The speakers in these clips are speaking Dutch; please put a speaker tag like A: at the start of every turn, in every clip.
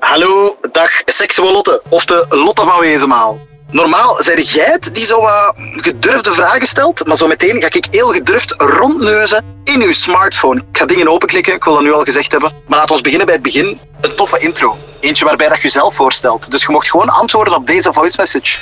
A: Hallo, dag seksuele Lotte, of de Lotte van Wezenmaal. Normaal zijn jij het die zo wat gedurfde vragen stelt, maar zo meteen ga ik heel gedurfd rondneuzen in uw smartphone. Ik ga dingen openklikken, ik wil dat nu al gezegd hebben. Maar laten we beginnen bij het begin. Een toffe intro. Eentje waarbij dat je jezelf voorstelt. Dus je mocht gewoon antwoorden op deze voice message.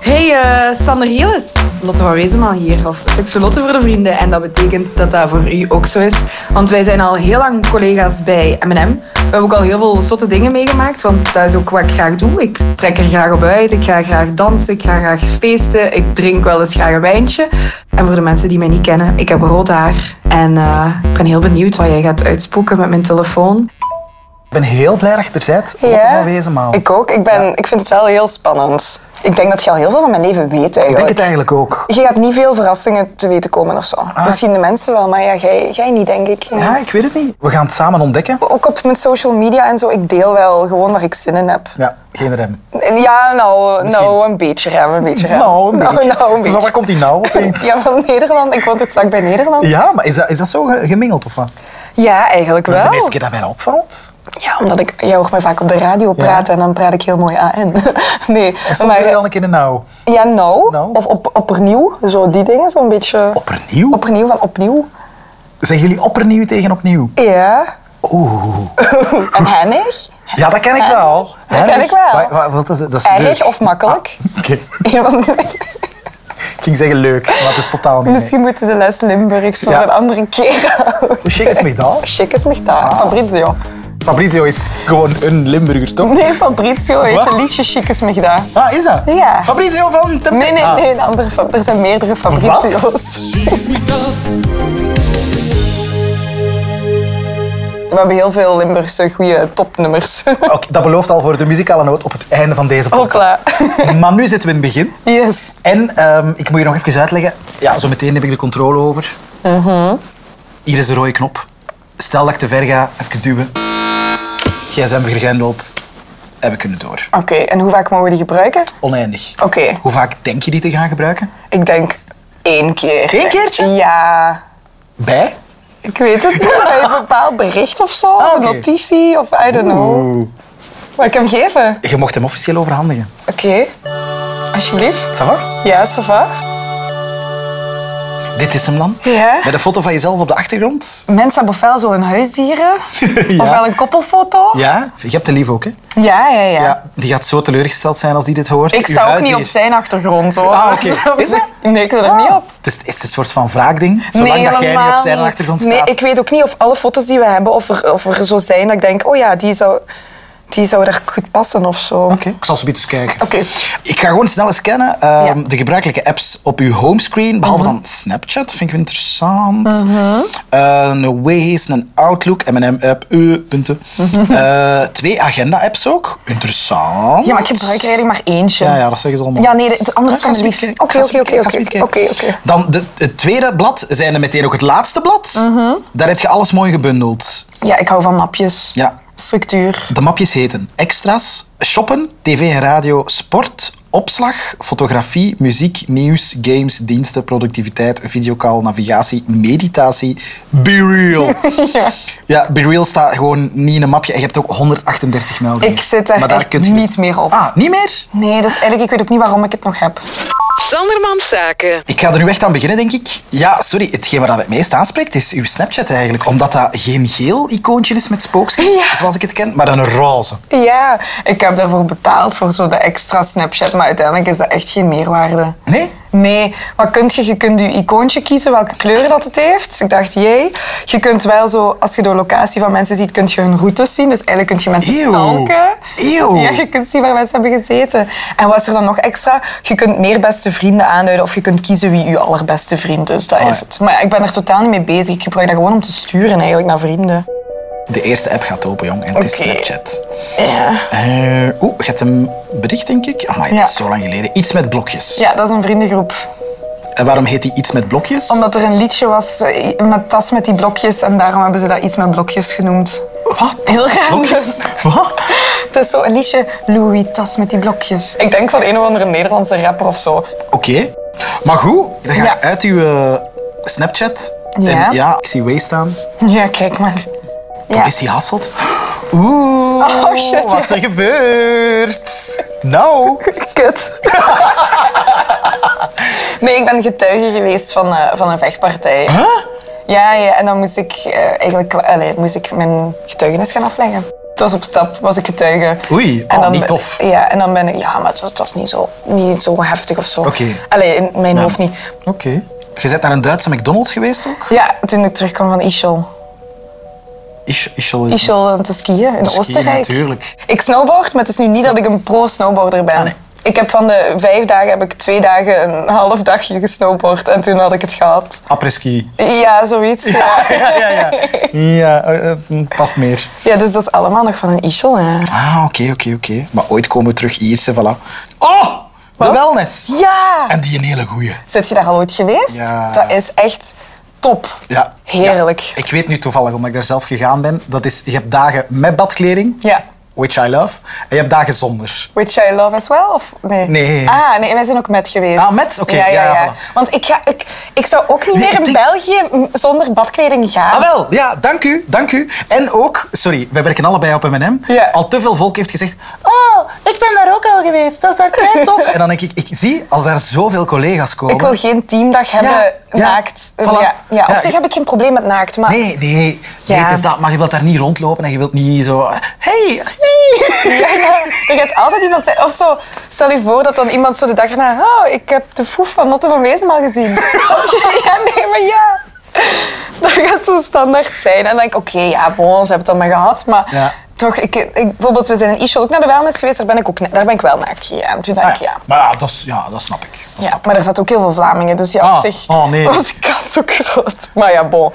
B: Hey, eh Sander Hielis. Lotte van Wezenmaal hier, of Seksolotte voor de vrienden. En dat betekent dat dat voor u ook zo is. Want wij zijn al heel lang collega's bij M&M. We hebben ook al heel veel zotte dingen meegemaakt, want dat is ook wat ik graag doe. Ik trek er graag op uit, ik ga graag dansen, ik ga graag feesten, ik drink wel eens graag een wijntje. En voor de mensen die mij niet kennen, ik heb rood haar. En eh, ik ben heel benieuwd wat jij gaat uitspoken met mijn telefoon.
C: Ik ben heel blij dat je er bent. Wat
D: Ja.
C: een wezenmaal. Ik
D: Ik ook. Ik, ben, ik vind het wel heel spannend. Ik denk dat je al heel veel van mijn leven weet eigenlijk.
C: denk het eigenlijk ook.
D: Je gaat niet veel verrassingen te weten komen of zo. Misschien de mensen wel, maar ja, jij, jij niet, denk ik.
C: Ah. Ja, ik weet het niet. We gaan het samen ontdekken.
D: Ook op mijn social media en zo, ik deel wel gewoon waar ik zin in heb.
C: Ja, geen rem.
D: En ja, nou, nou een beetje rem, een beetje rem.
C: Nou, een beetje.
D: Nou, nou, een
C: Van waar
D: beetje.
C: komt die nou opeens?
D: Ja, van Nederland. Ik woon ook vlakbij Nederland.
C: Ja, maar is dat, is dat zo ge- gemengeld of wat?
D: Ja, eigenlijk
C: Dat is de
D: wel.
C: eerste keer dat mij dat opvalt.
D: Ja, omdat ik... Jij hoort mij vaak op de radio praten en dan praat ik heel mooi aan. Nee,
C: En soms ben
D: maar...
C: je al een keer in nou.
D: Ja, nou.
C: Nou.
D: Of op, oppernieuw. Zo die dingen, zo'n beetje...
C: Opnieuw?
D: Opnieuw van opnieuw.
C: Zeggen jullie opnieuw tegen opnieuw?
D: Ja.
C: Oeh.
D: En hennig?
C: Ja, dat ken ik wel.
D: Eh, Dat ken ik wel.
C: Wa- wa- wat is het? dat? is
D: Erg
C: leuk.
D: of makkelijk?
C: Oké,
D: Een van de-
C: ik ging zeggen leuk, maar dat is totaal niet.
D: Misschien moeten we de les Limburgs voor
C: Ja.
D: een andere keer houden.
C: Hoe chic is mij dat?
D: Chic is mich daar. Fabrizio.
C: Fabrizio is gewoon een Limburger, toch?
D: Nee, Fabrizio heeft
C: Wat?
D: een liedje Chic is mich daar.
C: Ah, is dat?
D: Ja.
C: Fabrizio van Tempe-
D: Nee, nee,
C: Ah.
D: nee. Een andere, Fa- er zijn meerdere Fabrizio's. We hebben heel veel Limburgse goede topnummers.
C: Oké, dat belooft al voor de muzikale noot op het einde van deze podcast.
D: Hopla.
C: Maar nu zitten we in het begin.
D: Yes.
C: En ehm, ik moet je nog even uitleggen. Ja, zo meteen heb ik de controle over.
D: Uh-huh.
C: Hier is de rode knop. Stel dat ik te ver ga, even duwen. GSM vergrendeld. En we kunnen door.
D: Oké, en hoe vaak mogen we die gebruiken?
C: Oneindig.
D: Oké,
C: Hoe vaak denk je die te gaan gebruiken?
D: ik denk één keer.
C: Eén keertje?
D: Ja.
C: Bij?
D: Ik weet het niet. Bij een bepaald bericht of zo.
C: Ah,
D: Een
C: oké.
D: notitie of I don't know. Mag ik hem geven?
C: Je mocht hem officieel overhandigen.
D: Oké. Alsjeblieft.
C: Ça va?
D: Ja, ça va?
C: Dit is hem dan.
D: Ja.
C: Met een foto van jezelf op de achtergrond.
D: Mensen hebben ofwel zo'n huisdieren.
C: Ja.
D: Ofwel een koppelfoto.
C: Ja, je hebt de lief ook, hè?
D: Ja, ja, ja.
C: Ja, die gaat zo teleurgesteld zijn als die dit hoort.
D: Ik
C: Uw
D: sta ook
C: huisdier.
D: niet op zijn achtergrond hoor.
C: Ah, oké. Is dat?
D: Nee, ik zit er
C: Ah,
D: niet op.
C: Het is, het is een soort van wraakding. Zolang dat jij niet op
D: helemaal
C: zijn
D: niet.
C: achtergrond staat.
D: Nee, ik weet ook niet of alle foto's die we hebben, of er, of er zo zijn dat ik denk, oh ja, die zou, die zou daar goed passen of zo.
C: Oké, Ik zal ze eens kijken.
D: Oké.
C: Ik ga gewoon snel eens kennen ehm, de gebruikelijke apps op uw homescreen. Behalve
D: Mhm.
C: dan Snapchat, vind ik interessant. Eh, een Waze, een Outlook, M&M-app, eh, punten.
D: Mhm.
C: Eh, twee agenda-apps ook. Interessant.
D: Ja, maar ik gebruik er eigenlijk maar eentje.
C: Ja, ja, dat zeggen ze allemaal.
D: Ja, nee, de- de andere
C: Ja,
D: is
C: ga eens
D: van de lief.
C: meekijken.
D: Oké,
C: Ga eens
D: oké, oké,
C: meekijken, ga eens
D: oké,
C: meekijken.
D: oké, oké.
C: Dan de, het tweede blad zijn er meteen ook het laatste blad.
D: Mhm.
C: Daar heb je alles mooi gebundeld.
D: Ja, ik hou van mapjes.
C: Ja.
D: Structuur.
C: De mapjes heten extra's, shoppen, tv en radio, sport, opslag, fotografie, muziek, nieuws, games, diensten, productiviteit, videokaal, navigatie, meditatie, be real.
D: Ja.
C: Ja, be real staat gewoon niet in een mapje. En je hebt ook 138 meldingen.
D: Ik zit daar echt
C: dus-
D: niet meer op.
C: Ah, niet meer?
D: Nee, dus eigenlijk, ik weet ook niet waarom ik het nog heb.
E: Sandermans Zaken.
C: Ik ga er nu echt aan beginnen, denk ik. Ja, sorry, hetgeen wat het meest aanspreekt is uw Snapchat eigenlijk. Omdat dat geen geel icoontje is met spookschrift,
D: Ja.
C: zoals ik het ken, maar een roze.
D: Ja, ik heb daarvoor betaald voor zo de extra Snapchat, maar uiteindelijk is dat echt geen meerwaarde.
C: Nee?
D: Nee, wat kunt je? Je kunt je icoontje kiezen, welke kleur dat het heeft. Dus ik dacht, jee. Je kunt wel zo, als je de locatie van mensen ziet, kun je hun routes zien. Dus eigenlijk kun je mensen
C: Eeuw.
D: stalken.
C: Eeuw.
D: Ja, je kunt zien waar mensen hebben gezeten. En wat is er dan nog extra? Je kunt meer beste vrienden aanduiden of je kunt kiezen wie je allerbeste vriend is. Dat
C: ja.
D: is het. Maar ja, ik ben er totaal niet mee bezig. Ik gebruik dat gewoon om te sturen eigenlijk naar vrienden.
C: De eerste app gaat open, jong, en het is
D: Oké.
C: Snapchat.
D: Ja.
C: Eh, Oeh, je hebt een bericht, denk ik. Amai, dat
D: Ja.
C: is zo lang geleden. Iets met blokjes.
D: ja, dat is een vriendengroep.
C: En waarom heet die iets met blokjes?
D: Omdat er een liedje was eh, met tas met die blokjes en daarom hebben ze dat iets met blokjes genoemd.
C: Wat? Dat
D: Heel
C: is met
D: raar.
C: blokjes? Wat?
D: Het is zo een liedje, Louis Tas met die blokjes. Ik denk van een of andere Nederlandse rapper of zo.
C: Oké. Maar goed, dan ga
D: Ja.
C: ik uit uw eh, Snapchat.
D: Ja.
C: En ja, ik zie Waze staan.
D: Ja, kijk maar.
C: Politie Hasselt. Oeh,
D: Oh, shit,
C: wat is er gebeurd? Nou,
D: Kut. nee, ik ben getuige geweest van, eh, van een vechtpartij.
C: huh?
D: Ja, ja, en dan moest ik eh, eigenlijk allee, moest ik mijn getuigenis gaan afleggen. Het was op stap, was ik getuige.
C: Oei,
D: En
C: oh,
D: dan
C: niet
D: ben-
C: tof.
D: Ja, en dan ben ik... Ja, maar het was, het was niet, zo, niet zo heftig of zo.
C: Oké.
D: Allee, in mijn hoofd niet.
C: Oké. Je bent naar een Duitse McDonald's geweest ook?
D: Ja, toen ik terugkwam van Ischel.
C: Isch- Ischel is...
D: Ischel om te skiën in
C: skiën,
D: Oostenrijk.
C: natuurlijk.
D: Ik snowboard, maar het is nu niet dat ik een pro-snowboarder ben.
C: Ah, nee.
D: Ik heb van de vijf dagen heb ik twee dagen een half dagje gesnowboard en toen had ik het gehad.
C: Après-ski.
D: Ja, zoiets. Ja,
C: Ja, ja, ja. Ja, eh, eh, past meer.
D: Ja, dus dat is allemaal nog van een Ischel. hè.
C: Ah, oké, oké, oké. Maar ooit komen we terug Ierse, voilà. Oh, de wellness.
D: Ja!
C: En die een hele goeie.
D: Zit je daar al ooit geweest?
C: Ja.
D: Dat is echt top.
C: Ja.
D: Heerlijk.
C: Ja. Ik weet nu toevallig, omdat ik daar zelf gegaan ben, dat is, je hebt dagen met badkleding,
D: Ja.
C: which I love, en je hebt dagen zonder.
D: Which I love as well? Of nee?
C: Nee.
D: Ah, nee, wij zijn ook met geweest.
C: Ah, met? Oké, ja, ja, voilà.
D: Want ik, ga, ik, ik zou ook niet
C: Nee,
D: meer in
C: ik
D: België m- zonder badkleding gaan.
C: Ah wel, ja, dank u, dank u. En ook, sorry, wij werken allebei op M&M.
D: Ja.
C: Al te veel volk heeft gezegd, oh, ik ben daar ook al geweest, dat is daar kei tof. en dan denk ik, ik zie, als daar zoveel collega's komen...
D: Ik wil geen teamdag hebben
C: Ja, ja,
D: naakt.
C: voilà.
D: Ja, ja. Op
C: Ja,
D: zich
C: ik-
D: heb ik geen probleem met naakt, maar...
C: Nee, nee, nee,
D: Ja.
C: het is dat, maar je wilt daar niet rondlopen en je wilt niet zo... Hey, hey.
D: Ja, ja. er gaat altijd iemand zijn. Of zo, stel je voor dat dan iemand zo de dag erna... Oh, ik heb de foef van Lotte van Wezenmaal gezien. Snap je? Ja, nee, maar ja. Dat gaat zo standaard zijn. En dan denk ik, oké, ja, bon, ze hebben het dan maar gehad. Maar
C: Ja.
D: toch, ik, ik, bijvoorbeeld, we zijn in Ischel ook naar de wellness geweest. Daar ben ik, ook, na- daar ben ik wel naakt gegaan. Toen dacht ik, ja.
C: Maar Ah, ja dat, is, ja, dat snap ik. Dat
D: ja.
C: snap ik.
D: Maar er zaten ook heel veel Vlamingen. Dus ja,
C: Ah,
D: op zich
C: oh, nee.
D: was de kans ook groot. Maar ja, bon.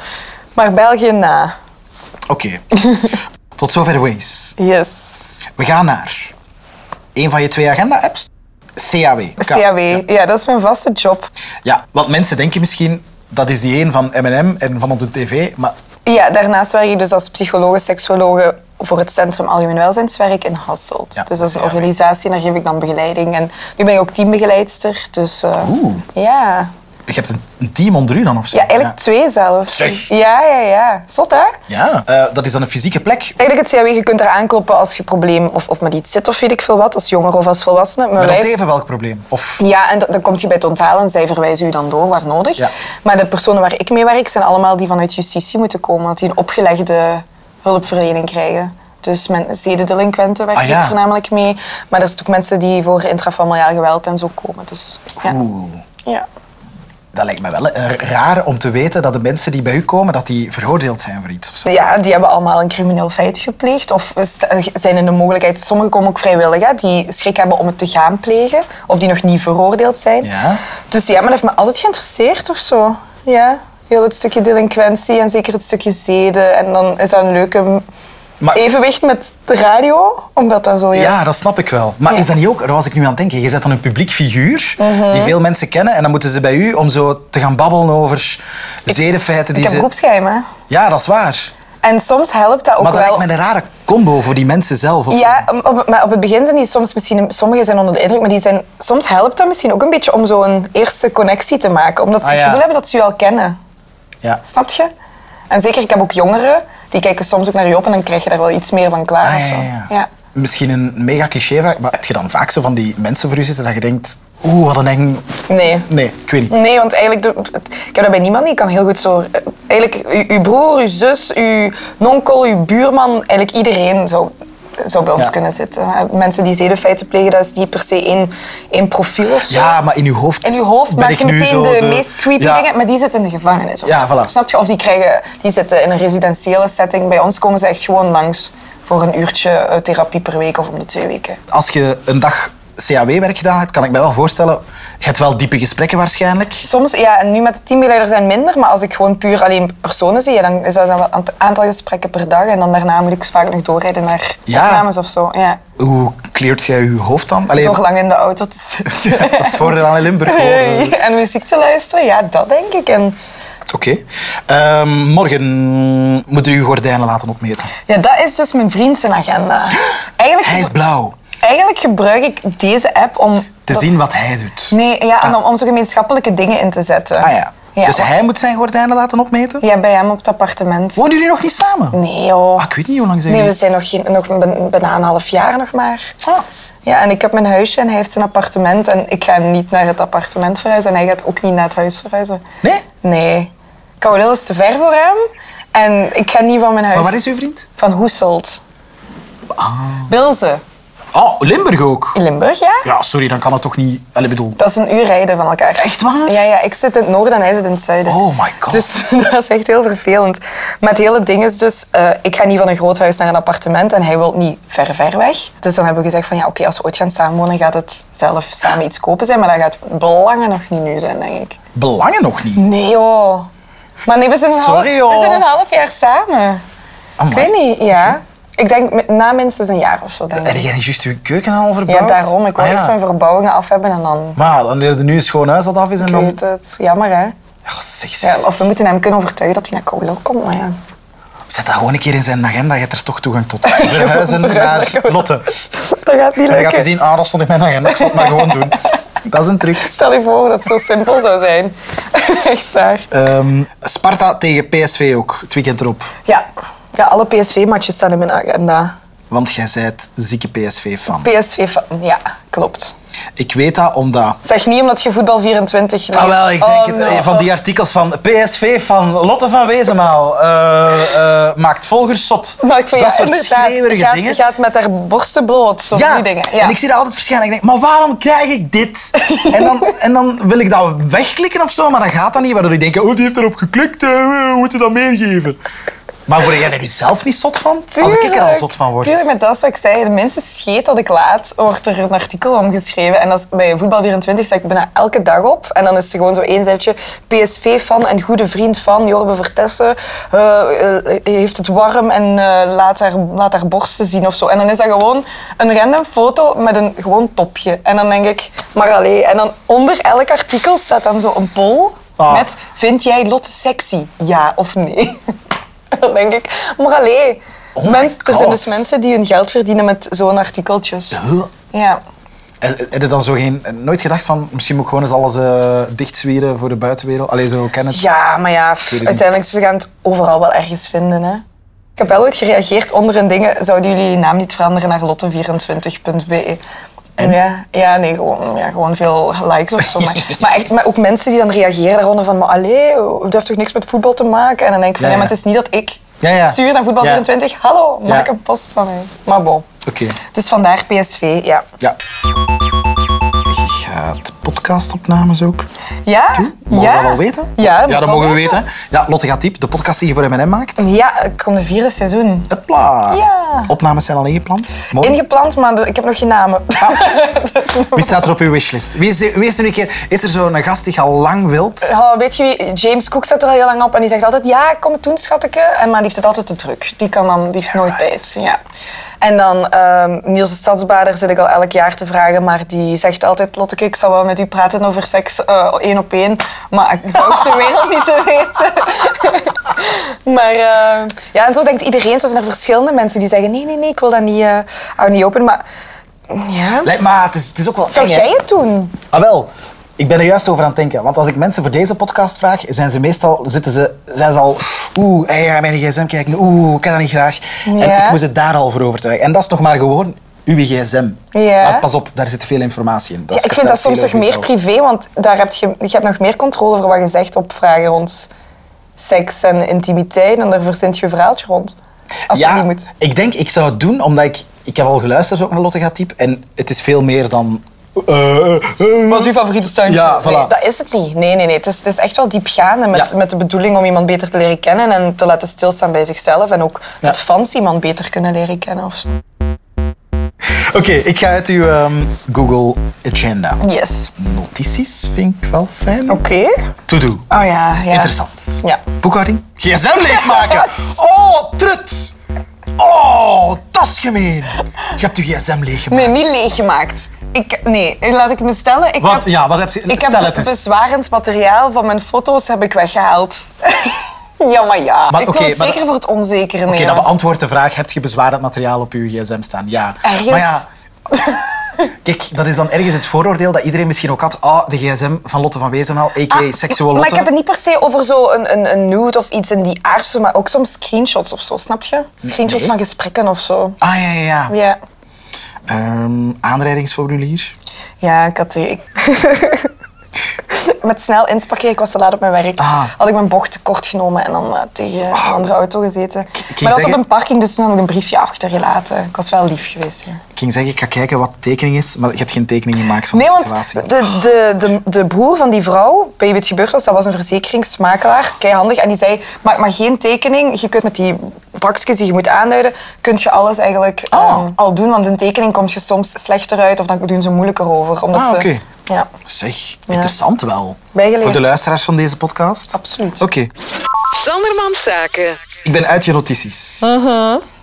D: Maar België na.
C: Oké. Tot zover Waze.
D: Yes.
C: We gaan naar een van je twee agenda-apps. CAW. K.
D: CAW. Ja. dat is mijn vaste job.
C: Ja, want mensen denken misschien dat is die een van M&M en van op de tv, maar
D: Ja, daarnaast werk ik dus als psycholoog, seksologe voor het Centrum Algemeen Welzijnswerk in Hasselt.
C: Ja,
D: dus dat is een
C: ja, ja.
D: organisatie en daar geef ik dan begeleiding. En nu ben ik ook teambegeleidster, dus... eh,
C: Oeh.
D: Ja.
C: je hebt een, een team onder u dan of zo.
D: Ja, eigenlijk twee zelfs.
C: Zeg.
D: Ja, ja, ja. Zot, hè?
C: Ja, Eh, dat is dan een fysieke plek.
D: Eigenlijk het CAW, je kunt er aankloppen als je probleem of, of met iets zit of weet ik veel wat, als jongere of als volwassene. Maar
C: Maar
D: wij-
C: dat even welk probleem? Of
D: Ja, en dat- dan komt je bij het onthalen en zij verwijzen u dan door waar nodig.
C: Ja.
D: Maar de personen waar ik mee werk zijn allemaal die vanuit justitie moeten komen, want die een opgelegde hulpverlening krijgen. Dus men, zedendelinquenten werk
C: Ah, ja.
D: ik voornamelijk mee. Maar er zijn ook mensen die voor intrafamiliaal geweld en zo komen. Dus, ja.
C: Oeh,
D: ja.
C: dat lijkt me wel eh, raar om te weten dat de mensen die bij u komen, dat die veroordeeld zijn voor iets of zo.
D: Ja, die hebben allemaal een crimineel feit gepleegd. Of st- eh, zijn in de mogelijkheid. Sommigen komen ook vrijwillig, hè, die schrik hebben om het te gaan plegen. Of die nog niet veroordeeld zijn.
C: Ja.
D: Dus ja, maar dat heeft me altijd geïnteresseerd of zo. Ja. Heel het stukje delinquentie en zeker het stukje zeden. En dan is dat een leuke m-
C: Maar-
D: evenwicht met de radio. Omdat dat zo...
C: Ja, dat snap ik wel. Maar
D: Ja. Mhm.
C: is dat niet ook, daar was ik nu aan het denken, je bent dan een publiek figuur die veel mensen kennen en dan moeten ze bij u om zo te gaan babbelen over zedenfeiten
D: Ik
C: die
D: heb
C: ze...
D: beroepsgeheimen.
C: Ja, dat is waar.
D: En soms helpt dat ook
C: Maar dat
D: wel.
C: lijkt me een rare combo voor die mensen zelf. Of
D: Ja, om- op- maar op het begin zijn die soms misschien... Sommigen zijn onder de indruk, maar die zijn, soms helpt dat misschien ook een beetje om zo'n eerste connectie te maken. Omdat ze
C: Ah,
D: het
C: ja.
D: gevoel hebben dat ze je al kennen.
C: zo. Ja.
D: Snap je? En zeker, ik heb ook jongeren, die kijken soms ook naar je op en dan krijg je daar wel iets meer van klaar
C: Ah,
D: of zo.
C: ja, ja, ja. Misschien een mega cliché vraag, maar heb je dan vaak zo van die mensen voor u zitten dat je denkt, oeh, wat een eng...
D: Nee.
C: Nee, ik weet niet.
D: Nee, want eigenlijk, de- ik heb dat bij niemand niet. Ik kan heel goed zo... eh, Eigenlijk, u- uw broer, uw zus, uw nonkel, uw buurman, eigenlijk iedereen zou, zou bij ons
C: Ja.
D: kunnen zitten. Eh, Mensen die zedenfeiten plegen, dat is niet per se één, één profiel of zo.
C: Ja, maar in uw hoofd
D: In uw hoofd
C: ben
D: maak
C: ik
D: je
C: nu
D: meteen
C: zo
D: de, meest creepy
C: Ja.
D: dingen, maar die zitten in de gevangenis. of
C: Ja,
D: zo.
C: voilà.
D: Snap je? Of die, krijgen, die zitten in een residentiële setting. Bij ons komen ze echt gewoon langs voor een uurtje eh, therapie per week of om de twee weken.
C: Als je een dag CAW-werk gedaan hebt, kan ik me wel voorstellen, je hebt wel diepe gesprekken waarschijnlijk.
D: Soms, ja, en nu met de teambegeleiders zijn minder, maar als ik gewoon puur alleen personen zie, ja, dan is dat dan wel een aant- aantal gesprekken per dag. En dan daarna moet ik dus vaak nog doorrijden naar
C: Ja.
D: opnames of zo. Ja.
C: Hoe kleert jij je hoofd dan? Allee,
D: Door lang in de auto te
C: dat is
D: zitten.
C: eh, het voordeel aan Limburg. hoor.
D: Hey, En muziek te luisteren, ja, dat denk ik. En
C: Oké. Ehm, morgen moeten u uw gordijnen laten opmeten.
D: ja, dat is dus mijn vriend zijn agenda. Eigenlijk,
C: Hij is blauw.
D: eigenlijk gebruik ik deze app om...
C: Te
D: dat-
C: zien wat hij doet.
D: Nee, ja, en
C: Ah.
D: om, om zo gemeenschappelijke dingen in te zetten.
C: Ah, ja.
D: Ja.
C: Dus hij moet zijn gordijnen laten opmeten.
D: Ja, bij hem op het appartement.
C: Wonen jullie nog niet samen?
D: Nee, joh.
C: Ah, ik weet niet hoe lang zijn
D: Nee, we
C: jullie.
D: zijn nog, geen, nog ben- bijna een half jaar nog maar.
C: Ah,
D: Ja, en ik heb mijn huisje en hij heeft zijn appartement. En ik ga niet naar het appartement verhuizen en hij gaat ook niet naar het huis verhuizen.
C: nee?
D: Nee. Kouwelil is te ver voor hem. En ik ga niet van mijn huis.
C: Van waar is uw vriend?
D: Van Hoeselt. Bilze.
C: Oh, Limburg ook.
D: In Limburg, ja?
C: Ja, sorry, dan kan dat toch niet... Allee, bedoel...
D: Dat is een uur rijden van elkaar.
C: Echt waar?
D: Ja, ja, ik zit in het noorden en hij zit in het zuiden.
C: Oh my god.
D: Dus dat is echt heel vervelend. Maar het hele ding is dus, eh, ik ga niet van een groot huis naar een appartement en hij wil niet ver, ver weg. Dus dan hebben we gezegd van ja, oké, als we ooit gaan samenwonen, gaat het zelf samen iets kopen zijn. Maar dat gaat belangen nog niet nu zijn, denk ik.
C: Belangen nog niet.
D: Nee joh. Maar nee, we zijn een,
C: Sorry,
D: half,
C: joh.
D: we zijn een half jaar samen. Ik
C: Amai.
D: weet niet, ja. Ik denk met- na minstens een jaar of zo, denk
C: Heb
D: ik.
C: jij niet juist je keuken al verbouwd?
D: Ja, daarom. Ik wil
C: Ah, ja.
D: eerst mijn verbouwingen af hebben en dan...
C: Maar dan leerde nu een schoon huis dat af is en
D: Ik
C: dan...
D: weet het. Jammer, hè?
C: Ja, zeg, zeg,
D: Ja, of we moeten hem kunnen overtuigen dat hij naar Kowloon komt, maar ja.
C: Zet dat gewoon een keer in zijn agenda. Je hebt er toch toegang tot. Verhuizen naar Lotte.
D: Dat gaat niet
C: En dan gaat
D: lukken.
C: hij zien, ah, dat stond in mijn agenda. Ik zal het maar gewoon doen. Dat is een truc.
D: Stel je voor dat het zo simpel zou zijn. Echt waar.
C: Ehm, Sparta tegen PSV ook, het weekend erop.
D: Ja. ja, alle PSV-matches staan in mijn agenda.
C: Want jij zijt zieke PSV-fan.
D: PSV-fan, ja, klopt.
C: Ik weet dat omdat...
D: Zeg niet omdat je voetbal 24 leest.
C: Ah, wel, ik denk
D: Oh,
C: het,
D: no.
C: eh, van die artikels van PSV van Lotte van Wezenmaal eh, eh, maakt volgers zot.
D: Maar ik vind
C: dat
D: ja,
C: soort
D: inderdaad,
C: schreeuwerige
D: gaat,
C: dingen.
D: gaat met haar borsten bloot, zo die dingen. Ja.
C: en ik zie dat altijd verschijnen. Ik denk, maar waarom krijg ik dit? en, dan, en dan wil ik dat wegklikken of zo, maar dat gaat dat niet. Waardoor ik denk, oh, die heeft erop geklikt, eh, we moeten dat meer geven. Maar word jij er nu zelf niet zot van? Als ik er al
D: Tuurlijk.
C: zot van word.
D: Tuurlijk, maar dat is wat ik zei. De mensen scheet dat ik laat, wordt er een artikel om geschreven. En dat is, bij Voetbal24 sta ik bijna elke dag op. En dan is er gewoon zo één zijdje PSV-fan en goede vriend van Jorbe Vertessen. eh, eh, heeft het warm en eh, laat, haar, laat haar borsten zien of zo. En dan is dat gewoon een random foto met een gewoon topje. En dan denk ik, maar allee. En dan onder elk artikel staat dan zo een poll
C: Ah.
D: met... Vind jij Lotte sexy? Ja of nee? Dan denk ik, maar allee.
C: Oh my
D: mens- er zijn dus
C: God.
D: mensen die hun geld verdienen met zo'n artikeltjes.
C: Huh?
D: Ja.
C: En- en Heb je dan zo geen, eh, nooit gedacht van, misschien moet ik gewoon eens alles eh dichtzwieren voor de buitenwereld? Allee, zo ken het.
D: ja, maar ja,
C: weet het
D: pff,
C: niet.
D: uiteindelijk ze gaan het overal wel ergens vinden. Hè. Ik heb wel ooit gereageerd onder een dingen. Zouden jullie je naam niet veranderen naar lotte24.be? Ja, ja, nee, gewoon, ja, gewoon veel likes of zo. Maar, maar echt, maar ook mensen die dan reageren daaronder van... Maar allee, dat heeft toch niks met voetbal te maken? En dan denk ik van,
C: Ja,
D: ja,
C: ja.
D: maar het is niet dat ik
C: Ja, ja.
D: stuur naar Voetbal24. Hallo, maak
C: Ja.
D: een post van mij. Maar bon.
C: Oké.
D: Dus vandaar PSV, ja.
C: Ja. Gaat podcastopnames ook?
D: Ja?
C: Mogen
D: ja.
C: we dat al weten?
D: Ja,
C: ja dat mogen we weten. hè. Ja, Lotte gaat diep. De podcast die je voor M&M maakt.
D: Ja, het komt een vierde seizoen.
C: Hopla.
D: Ja.
C: Opnames zijn al ingepland. Mooi.
D: Ingepland, maar de- ik heb nog geen namen.
C: Ah.
D: Dus
C: Wie staat er op uw wishlist? Wie is, wie is er nu een keer... Is er zo'n gast die je al lang wilt?
D: Oh, weet je wie? James Cook zat er al heel lang op en die zegt altijd ja, kom toen schatke. En, maar die heeft het altijd te druk. Die, kan dan, die heeft nooit tijd. Ja. En dan ehm, Niels de Stadsbader zit ik al elk jaar te vragen, maar die zegt altijd Lotteke, ik zal wel met u praten over seks eh, één op één, maar ik hoef de wereld niet te weten. maar eh, ja, en zo denkt iedereen. Zo zijn er verschillende mensen die zeggen nee, nee, nee, ik wil dat niet, eh hou niet open. Maar ja,
C: Lijkt me, ah, het is, het is ook wel
D: zou
C: eng, hè?
D: jij het doen?
C: Ah, wel. Ik ben er juist over aan het denken. Want als ik mensen voor deze podcast vraag, zijn ze meestal zitten ze, zijn ze al... Oeh, hey, ja, mijn gsm kijken. Oeh, ik kan dat niet graag. En
D: Ja.
C: ik moest het daar al voor overtuigen. En dat is nog maar gewoon uw gsm.
D: Ja.
C: Maar pas op, daar zit veel informatie in.
D: Ja, ik vind dat soms nog
C: nog
D: meer privé, want daar heb je, je hebt nog meer controle over wat je zegt op vragen rond seks en intimiteit. En daar verzint je een verhaaltje rond. Als dat niet moet.
C: Ik denk, ik zou het doen, omdat ik... Ik heb al geluisterd ook naar Lotte Gatiep. En het is veel meer dan... eh, eh, eh.
D: Wat is uw favoriete standje?
C: Ja, voilà.
D: Nee, dat is het niet. Nee, nee, nee. Het is, het is echt wel diepgaande met,
C: Ja.
D: met de bedoeling om iemand beter te leren kennen en te laten stilstaan bij zichzelf. En ook
C: Ja.
D: het fans iemand beter kunnen leren kennen. Of zo.
C: Oké, ik ga uit uw ehm, Google Agenda.
D: Yes.
C: Notities vind ik wel fijn.
D: Oké.
C: To-do.
D: Oh ja, ja.
C: Interessant.
D: Ja.
C: Boekhouding. GSM leegmaken. Oh, trut. Oh, dat is gemeen. Je hebt je gsm leeggemaakt.
D: Nee, niet leeggemaakt. Ik, nee, laat ik me stellen. Ik
C: Wat,
D: heb-
C: ja, wat heb je...
D: Ik
C: stel
D: heb
C: het eens.
D: bezwarend materiaal van mijn foto's heb ik weggehaald. ja, maar ja.
C: Maar
D: ik
C: oké,
D: wil het
C: maar-
D: zeker voor het onzekere
C: Oké,
D: nemen.
C: dat beantwoordt de vraag. Heb je bezwarend materiaal op je gsm staan? Ja.
D: Ergens.
C: Maar ja, Kijk, dat is dan ergens het vooroordeel dat iedereen misschien ook had. Ah, de gsm van Lotte van Wezenmaal, a.k.a.
D: Ah,
C: seksueel Lotte.
D: Maar ik heb het niet per se over zo een, een, een nude of iets in die aardse, maar ook soms screenshots of zo, snap je? Screenshots
C: Nee.
D: van gesprekken of zo.
C: Ah, ja, ja, ja.
D: Ja,
C: Ehm, aanrijdingsformulier.
D: ja ik had die... ik- Met snel in te parkeren, ik was te laat op mijn werk.
C: Ah.
D: Had ik mijn bocht te kort genomen en dan eh, tegen een andere auto gezeten. maar dat was op
C: zeggen-
D: een parking, dus toen had ik een briefje achtergelaten. Ik was wel lief geweest. Ja.
C: Ik ging zeggen, ik ga kijken wat tekening is, maar je hebt geen tekening gemaakt van
D: Nee,
C: de
D: want
C: situatie.
D: de, de, de, de broer van die vrouw, bij wie het gebeurd was, dat was een verzekeringsmakelaar, keihandig. En die zei, maak maar geen tekening. Je kunt met die vakjes die je moet aanduiden, kun je alles eigenlijk
C: Ah.
D: ehm, al doen. Want in tekening kom je soms slechter uit of dan doen ze moeilijker over. Omdat
C: Ah,
D: ze,
C: oké.
D: Ja,
C: Zeg, interessant wel.
D: Bijgeleerd.
C: Voor de luisteraars van deze podcast?
D: Absoluut.
C: Oké,
E: Sandermans Zaken.
C: ik ben uit je notities.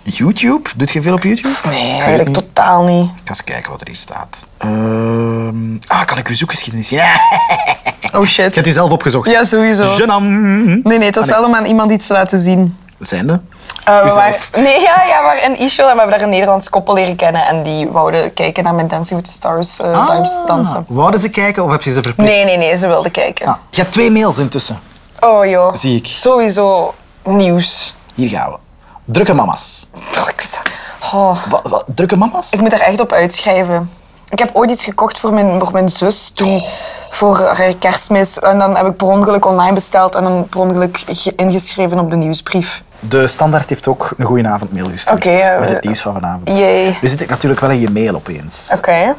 C: YouTube? Doet je veel op YouTube? Ik
D: Uh-huh. nee,
C: weet
D: eigenlijk
C: niet.
D: totaal niet.
C: Ik ga eens kijken wat er hier staat. Ehm, ah, kan ik uw zoekgeschiedenis? Ja,
D: Oh
C: ik heb
D: shit.
C: u zelf opgezocht.
D: Ja, sowieso.
C: Genam.
D: Nee, nee, het was
C: Ah, nee.
D: wel om aan iemand iets te laten zien.
C: Zijnde?
D: Eh, we
C: Uzelf.
D: waren- nee, ja, ja, we waren in Israël en we hebben daar een Nederlands koppel leren kennen. En die wouden kijken naar mijn Dancing with the Stars eh, dans- dansen.
C: Wouden ze kijken of heb je ze verplicht?
D: Nee, nee, nee, ze wilden kijken.
C: Ah, je hebt twee mails intussen.
D: Oh joh.
C: Zie ik.
D: Sowieso nieuws.
C: Hier gaan we. Drukke mama's.
D: Oh, ik weet dat. Oh,
C: Wa- wa- drukke mama's?
D: ik moet daar echt op uitschrijven. Ik heb ooit iets gekocht voor mijn, voor mijn zus toen voor haar kerstmis. En dan heb ik per ongeluk online besteld en dan per ongeluk ge- ingeschreven op de nieuwsbrief.
C: De standaard heeft ook een goede avondmail gestuurd.
D: Oké, eh,
C: met het nieuws van vanavond.
D: jee.
C: Nu zit ik natuurlijk wel in je mail opeens.
D: Oké. Oh.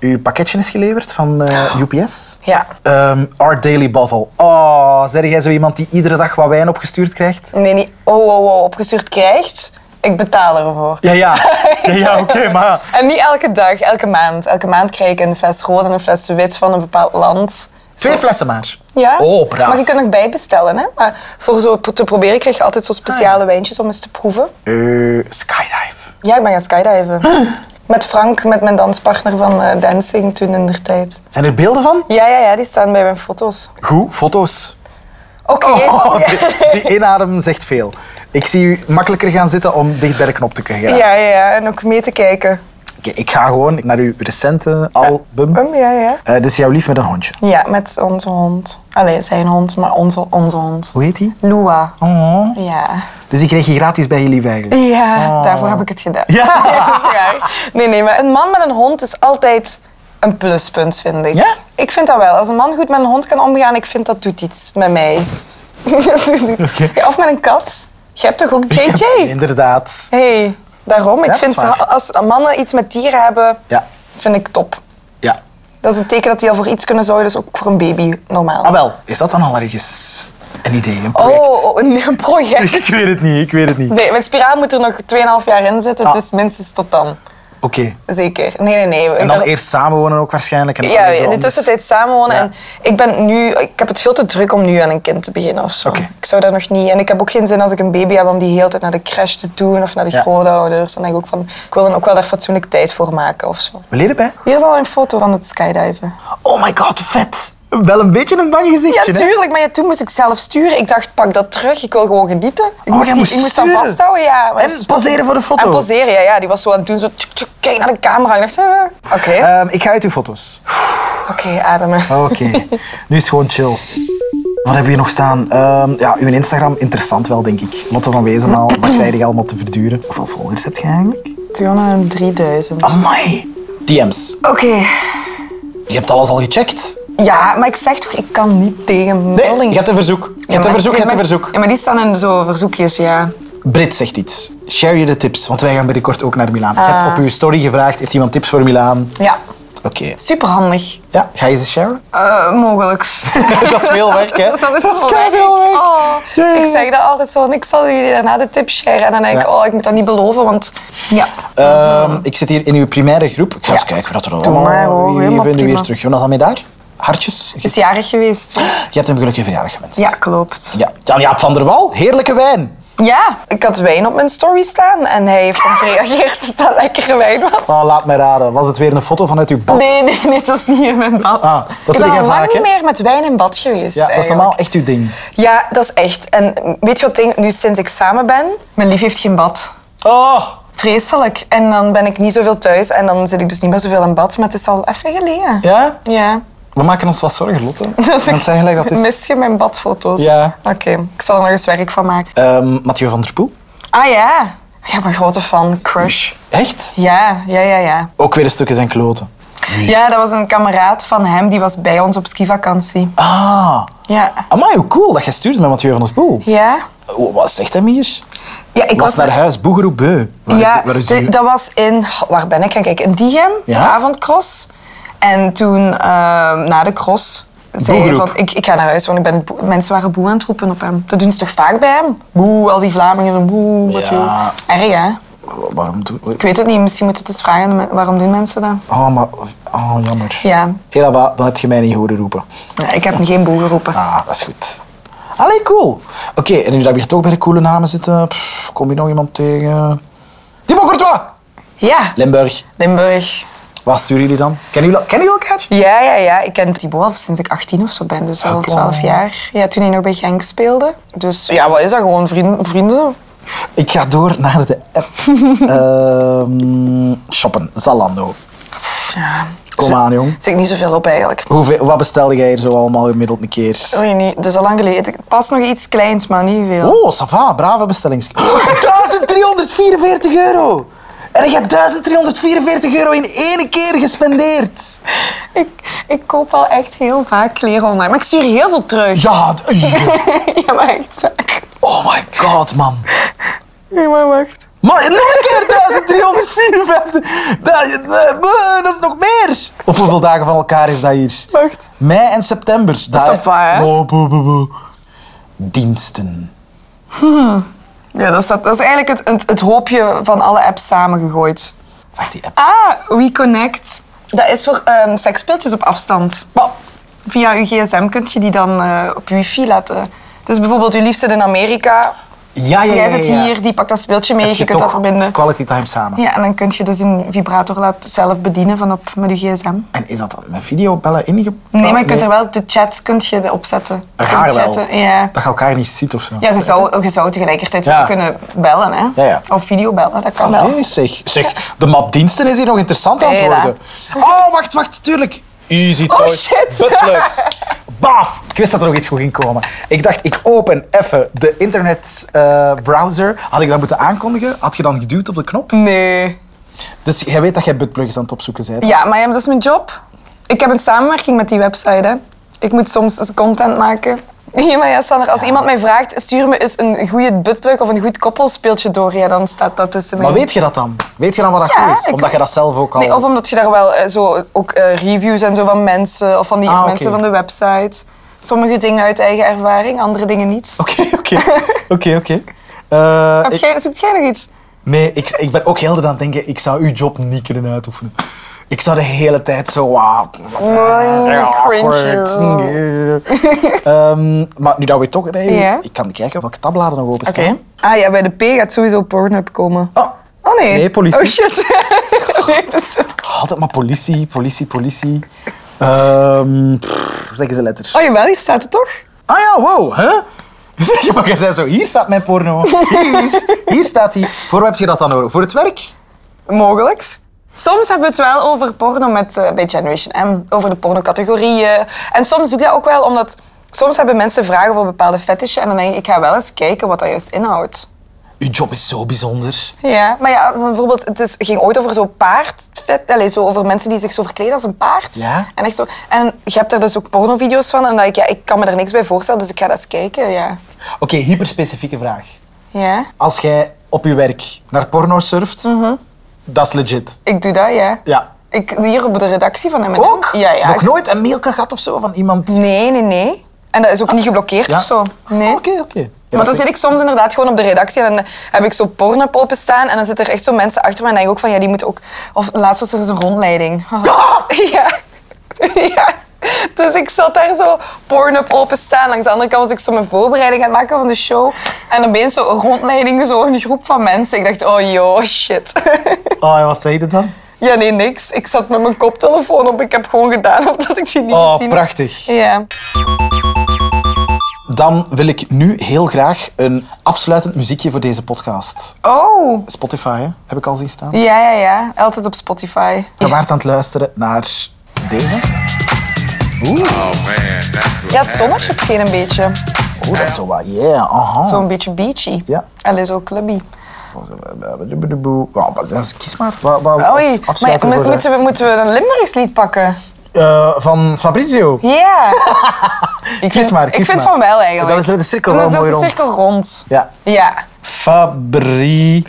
C: Uw pakketje is geleverd van eh, UPS.
D: Ja.
C: Ehm, Our Daily Bottle. Oh, zeg jij zo iemand die iedere dag wat wijn opgestuurd krijgt?
D: Nee, niet oh, oh, oh opgestuurd krijgt. Ik betaal ervoor.
C: Ja, ja. Ja, ja oké, maar...
D: En niet elke dag, elke maand. Elke maand krijg ik een fles rood en een fles wit van een bepaald land.
C: Twee flessen maar.
D: Ja.
C: Oh, braaf.
D: Maar je kunt nog bijbestellen, hè? Maar voor zo te proberen krijg je altijd zo speciale
C: Ah.
D: wijntjes om eens te proeven.
C: Eh, skydive.
D: Ja, ik ben gaan skydiven.
C: Ah.
D: Met Frank, met mijn danspartner van eh, Dancing toen in der tijd.
C: Zijn er beelden van?
D: Ja, ja, ja, die staan bij mijn foto's.
C: Goed, foto's.
D: Oké.
C: Oh,
D: Ja.
C: die, die inadem zegt veel. Ik zie u makkelijker gaan zitten om dicht bij de knop te kunnen gaan.
D: Ja, ja, ja, en ook mee te kijken.
C: Oké, ik ga gewoon naar uw recente album.
D: Um, ja, ja.
C: Eh, dit is jouw lief met een hondje.
D: Ja, met onze hond. Allee, zijn hond, maar onze, onze hond.
C: Hoe heet die?
D: Lua.
C: Oh.
D: Ja.
C: Dus die kreeg je gratis bij je lief eigenlijk.
D: Ja, daarvoor heb ik het gedaan.
C: Ja.
D: dat is raar. Nee, nee, maar een man met een hond is altijd een pluspunt, vind ik.
C: Ja?
D: Ik vind dat wel. Als een man goed met een hond kan omgaan, ik vind dat doet iets met mij. Ja, of met een kat. Je hebt toch ook JJ?
C: Inderdaad.
D: hey, daarom. Ik
C: Ja, dat
D: vind
C: is waar.
D: ze- als mannen iets met dieren hebben,
C: Ja.
D: vind ik top.
C: Ja.
D: Dat is een teken dat die al voor iets kunnen zorgen, dus ook voor een baby normaal.
C: Ah wel, is dat dan al ergens een idee, een project?
D: oh, oh, een project.
C: Ik weet het niet, ik weet het niet.
D: Nee, mijn spiraal moet er nog 2,5 jaar in zitten,
C: Ah.
D: dus minstens tot dan.
C: Oké.
D: Zeker. Nee, nee, nee.
C: En dan
D: Daar-
C: eerst samenwonen ook waarschijnlijk. En dan
D: Ja,
C: weer
D: in de
C: anders.
D: tussentijd samenwonen.
C: Ja.
D: En ik, ben nu, ik heb het veel te druk om nu aan een kind te beginnen of zo.
C: Oké.
D: Ik zou dat nog niet. En ik heb ook geen zin als ik een baby heb om die heel de tijd naar de crash te doen of naar de
C: Ja.
D: grootouders. Dan denk ik ook van, ik wil dan ook wel daar fatsoenlijk tijd voor maken of zo.
C: We leren bij.
D: Hier is al een foto van het skydiven.
C: Oh my god, vet. Wel een beetje een bang
D: Ja,
C: gezichtje, hè?
D: tuurlijk. Maar ja, toen moest ik zelf sturen. Ik dacht, pak dat terug. Ik wil gewoon genieten. Ik
C: Oh, jij
D: moest, die-
C: moest
D: ik moest dat
C: sturen.
D: vasthouden. Ja, Maar
C: En
D: dat is-
C: poseren voor de foto.
D: En poseren, ja. ja. Die was zo aan het doen. Zo, tjuk, tjuk, kijk naar de camera. Ik dacht, ah, oké.
C: Ehm, ik ga uit uw foto's.
D: Oké, ademen.
C: oh, Oké. nu is het gewoon chill. Wat hebben we hier nog staan? Ehm, ja, uw Instagram, interessant wel, denk ik. Lotte van Wezenmaal, wat krijg je allemaal te verduren? Hoeveel volgers heb je eigenlijk?
D: 23000.
C: Amai. DM's.
D: Oké.
C: Je hebt alles al gecheckt.
D: Ja, maar ik zeg toch, ik kan niet tegen meldingen.
C: Nee, je hebt een verzoek. Je hebt een verzoek, je hebt een verzoek.
D: Ja, maar die staan in zo verzoekjes, ja.
C: Brit zegt iets. Share je de tips, want wij gaan binnenkort ook naar Milaan. Je hebt op uw story gevraagd, heeft iemand tips voor Milaan?
D: Ah. Ja,
C: Oké.
D: superhandig.
C: Ja, ga je ze sharen?
D: Eh mogelijk.
C: Dat is veel werk, hè?
D: Dat is altijd
C: Dat is
D: zo werk.
C: keiveel werk.
D: Oh,
C: Ja, ja, ja.
D: ik zeg dat altijd zo, en ik zal jullie daarna de tip sharen. En dan denk ik,
C: Ja.
D: oh, ik moet dat niet beloven, want... Ja.
C: Ehm, ik zit hier in uw primaire groep. Ik ga eens
D: Ja.
C: kijken wat er
D: Doe
C: allemaal
D: maar, hoor.
C: Wie vinden
D: Helemaal
C: we hier
D: prima.
C: terug. Jonas, daarmee daar? Hartjes. Je
D: Is jarig geweest.
C: hebt hem gelukkig verjaardag gewenst.
D: Ja, klopt.
C: Ja. Jan-Jaap van der Wal, heerlijke wijn.
D: Ja, ik had wijn op mijn story staan en hij heeft dan gereageerd dat dat lekkere wijn was.
C: Oh, laat mij raden. Was het weer een foto vanuit uw bad?
D: Nee, nee, nee, dat is niet in mijn bad.
C: Ah, dat doe
D: ik ben
C: jij
D: al lang
C: vaak, hè?
D: niet meer met wijn in bad geweest.
C: Ja, dat is
D: eigenlijk.
C: normaal echt uw ding.
D: Ja, dat is echt. En weet je wat ding, nu sinds ik samen ben? Mijn lief heeft geen bad.
C: Oh,
D: Vreselijk. En dan ben ik niet zoveel thuis en dan zit ik dus niet meer zoveel in bad, maar het is al even geleden.
C: Ja?
D: Ja.
C: We maken ons wat zorgen, Lotte.
D: Dat
C: Want zeg gelijk dat is...
D: Mist je mijn badfoto's?
C: Ja.
D: Oké, ik zal er nog eens werk van maken.
C: Ehm, Mathieu van der Poel.
D: Ah ja. Ja, mijn grote fan. Crush.
C: Echt?
D: Ja, ja, ja, ja.
C: Ook weer een stukje zijn kloten.
D: Ja, dat was een kameraad van hem, die was bij ons op skivakantie.
C: Ah.
D: Ja.
C: Amai, hoe cool dat jij stuurt met Mathieu van der Poel.
D: Ja?
C: Wa- Wat zegt hem hier?
D: Ja, ik
C: was naar huis, boegeroe beu. Waar
D: ja,
C: is, waar is
D: de-
C: uw-
D: dat was in... Goh, Waar ben ik gaan kijken? In Diegem,
C: Ja?
D: de avondcross. En toen, ehm, na de cross, zei hij
C: Boegeroep.
D: van... Ik, ik ga naar huis, want ik ben boe- mensen waren boe aan het roepen op hem. Dat doen ze toch vaak bij hem? Boe, al die Vlamingen, boe, wat
C: Ja.
D: joh. Erg, hè?
C: Wa- Waarom doe...
D: Ik weet het niet, misschien moeten we het eens vragen. aan de men- Waarom doen mensen dat?
C: Oh, maar... Oh, jammer.
D: Ja,
C: Hela, wa- dan heb je mij niet horen roepen.
D: Ja, ik heb geen boe geroepen.
C: Ah, dat is goed. Allee, cool. Oké, en nu dat we hier toch bij de coole namen zitten, pff, kom je nog iemand tegen? Thibaut Courtois!
D: Ja,
C: Limburg.
D: Limburg.
C: Wat sturen jullie dan? Kennen jullie, kennen jullie elkaar?
D: Ja, ja, ja. Ik ken Thibaut al sinds ik 18 of zo ben, dus al
C: Hopla.
D: 12 jaar. Ja, toen hij nog bij Genk speelde. Dus ja, wat is dat? Gewoon vrienden. vrienden.
C: Ik ga door naar de app. Ehm, shoppen, Zalando.
D: Ja,
C: Kom aan, jong.
D: zit ik niet zoveel op eigenlijk.
C: Hoeveel, wat bestelde jij hier zo allemaal gemiddeld een keer?
D: Oei, nee, dat is al lang geleden. Pas nog iets kleins, maar niet veel.
C: Oh, Sava, brave bestellings. 1344 euro! En je hebt 1344 euro in één keer gespendeerd.
D: Ik, ik koop al echt heel vaak kleren online, maar ik stuur heel veel terug.
C: Ja, d- oei.
D: ja maar echt vaak.
C: oh my god, man.
D: Ja, maar wacht.
C: Maar nog een keer 1354. Dat, dat- dat is nog meer. Op hoeveel dagen van elkaar is dat hier?
D: Wacht.
C: Mei en september. Dat
D: is waar, hè?
C: Oh, boe, boe, boe. Diensten.
D: Ja, dat is, dat, dat is eigenlijk het, het, het hoopje van alle apps samengegooid.
C: Wacht, die app.
D: Ah, WeConnect. Dat is voor ehm seksspeeltjes op afstand.
C: Maar,
D: Via uw gsm kun je die dan eh, op wifi laten. Dus bijvoorbeeld uw liefste in Amerika.
C: ja, ja, ja.
D: Jij zit
C: ja, ja.
D: hier, die pakt dat speeltje mee,
C: Heb
D: je, kunt dat
C: toch
D: verbinden.
C: Quality time samen.
D: Ja, en dan kun je dus een vibrator laten zelf bedienen van op, met je gsm.
C: En is dat dan met videobellen ingepakt?
D: Nee, maar je kunt er wel de chat kun je erop zetten.
C: Oh, Raar
D: Kunt
C: wel.
D: chatten, Ja.
C: Dat je elkaar niet ziet of zo.
D: Ja, je zou, je zou tegelijkertijd
C: Ja.
D: wel kunnen bellen, hè?
C: Ja, ja.
D: Of videobellen, dat kan wel.
C: Nee, zeg, zeg. De map diensten is hier nog interessant aan het
D: Hela.
C: worden. Oh, wacht, wacht, tuurlijk. Easy toys.
D: Oh, shit.
C: Buttlugs. Baaf. Ik wist dat er nog iets goed ging komen. Ik dacht, ik open even de internetbrowser. Had ik dat moeten aankondigen? Had je dan geduwd op de knop?
D: Nee.
C: Dus jij weet dat jij buttplugs aan het opzoeken bent.
D: Ja, maar ja, dat is mijn job. Ik heb een samenwerking met die website. Hè. Ik moet soms content maken. Ja, maar ja, Sander, als iemand mij vraagt, stuur me eens een goede buttplug of een goed koppelspeeltje door, ja, dan staat dat tussen mij.
C: Maar weet je dat dan? Weet je dan wat dat
D: Ja,
C: goed is?
D: ik-
C: Omdat je dat zelf ook al...
D: Nee, of omdat je daar wel eh, zo ook eh, reviews en zo van mensen of van die
C: Ah, oké.
D: mensen van de website. Sommige dingen uit eigen ervaring, andere dingen niet.
C: Oké, oké. Oké, oké. Eh,
D: Heb
C: ik-
D: jij, zoekt jij nog iets?
C: Nee, ik, ik ben ook heel de tijd aan het denken, ik zou uw job niet kunnen uitoefenen. Ik zou de hele tijd zo... ah,
D: Mm,
C: awkward.
D: cringe.
C: Ehm, maar nu dat we toch bij u...
D: Ja.
C: Ik kan kijken welke tabbladen nog
D: Oké.
C: openstaan.
D: Ah ja, bij de P gaat sowieso Pornhub komen.
C: Ah,
D: Oh nee.
C: Nee, politie.
D: Oh shit. nee, dat is-
C: altijd maar politie, politie, politie. Ehm pff, zeggen ze letters.
D: Oh jawel, hier staat het toch?
C: Ah ja, wow, hè? Zeg je, maar jij zei zo, hier staat mijn porno. Hier, hier staat hij. Voor wat heb je dat dan nodig? Voor het werk?
D: Mogelijks. Soms hebben we het wel over porno met, eh, bij Generation M, over de pornocategorieën. En soms doe ik dat ook wel, omdat soms hebben mensen vragen voor bepaalde fetishen en dan denk ik, ik ga wel eens kijken wat dat juist inhoudt.
C: Uw job is zo bijzonder.
D: Ja, maar ja, dan bijvoorbeeld, het is, ging ooit over zo'n paardvet, allez, zo over mensen die zich zo verkleden als een paard.
C: Ja.
D: En, echt zo, en je hebt daar dus ook pornovideo's van en dat ik, ja, ik kan me daar niks bij voorstellen, dus ik ga dat eens kijken, ja.
C: Oké, hyperspecifieke vraag.
D: Ja,
C: Als jij op je werk naar porno surft,
D: Mhm.
C: dat is legit.
D: ik doe dat, ja.
C: Ja.
D: Ik, hier op de redactie van M&M.
C: Ook?
D: Ja, ja.
C: Nog nooit een mail gehad of zo van iemand?
D: Nee, nee, nee. En dat is ook niet geblokkeerd
C: Ah, Ja? Ah,
D: of zo. Nee.
C: Oké, oké. Ja,
D: Maar
C: dat
D: dan zit ik soms inderdaad gewoon op de redactie en dan heb ik zo porno openstaan en dan zitten er echt zo mensen achter me en denk ik ook van ja, die moeten ook... Of laatst was er eens een rondleiding. Ja. ja. Dus ik zat daar zo porno openstaan. Langs de andere kant was ik zo mijn voorbereiding aan het maken van de show. En dan ben zo een rondleiding, zo een groep van mensen. Ik dacht, oh joh, shit.
C: Oh, en wat zei je dan?
D: ja, nee, niks. Ik zat met mijn koptelefoon op. Ik heb gewoon gedaan of dat ik die niet
C: Oh,
D: gezien had.
C: prachtig.
D: Ja.
C: dan wil ik nu heel graag een afsluitend muziekje voor deze podcast.
D: Oh.
C: Spotify, hè? heb ik al zien staan.
D: Ja, ja, ja. Altijd op Spotify.
C: Je waart aan het luisteren naar deze.
D: Ja, het zonnetje scheen een
C: Oh.
D: beetje.
C: Oeh, dat is zo wat. Yeah, aha.
D: Zo'n beetje beachy.
C: Ja.
D: En is ook clubby.
C: Ja, maar dat is- Kies maar. Wat, wat,
D: Ah, Oei,
C: als
D: maar
C: afsluiter
D: mo-
C: voor,
D: moeten we, moeten we een Limburgs lied pakken?
C: eh, van Fabrizio.
D: Ja. ik
C: Kies maar,
D: ik
C: kies
D: vind
C: maar.
D: van wel eigenlijk.
C: Dan is de cirkel wel
D: Dat is
C: mooi
D: de
C: rond.
D: cirkel rond.
C: Ja.
D: Ja.
C: Fabrizio.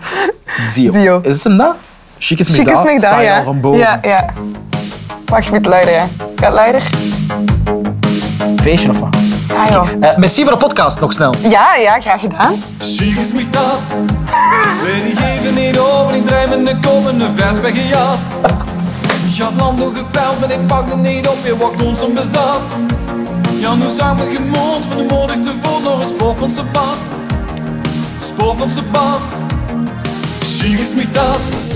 D: Zio.
C: Is het hem dat? Chic is
D: Chic is
C: me
D: McDowell,
C: daar,
D: ja.
C: van boven.
D: Ja, ja. Wacht, ik moet luider, hè. Gaat luider?
C: Feestje of wat?
D: Ah, joh.
C: Eh, merci voor de podcast, nog snel.
D: Ja, ja, graag gedaan.
F: Schiek is mich dat. Wenn ich even niet open, ik draai mijn komende vers ben gejat. Ik had landen gepeld, maar ik pakte niet op, je wat ons om bezat. Ja, nu zijn we gemoord, met de moedig te vol door het spoor van zijn pad. Spoor van zijn pad. Schiek is mich dat.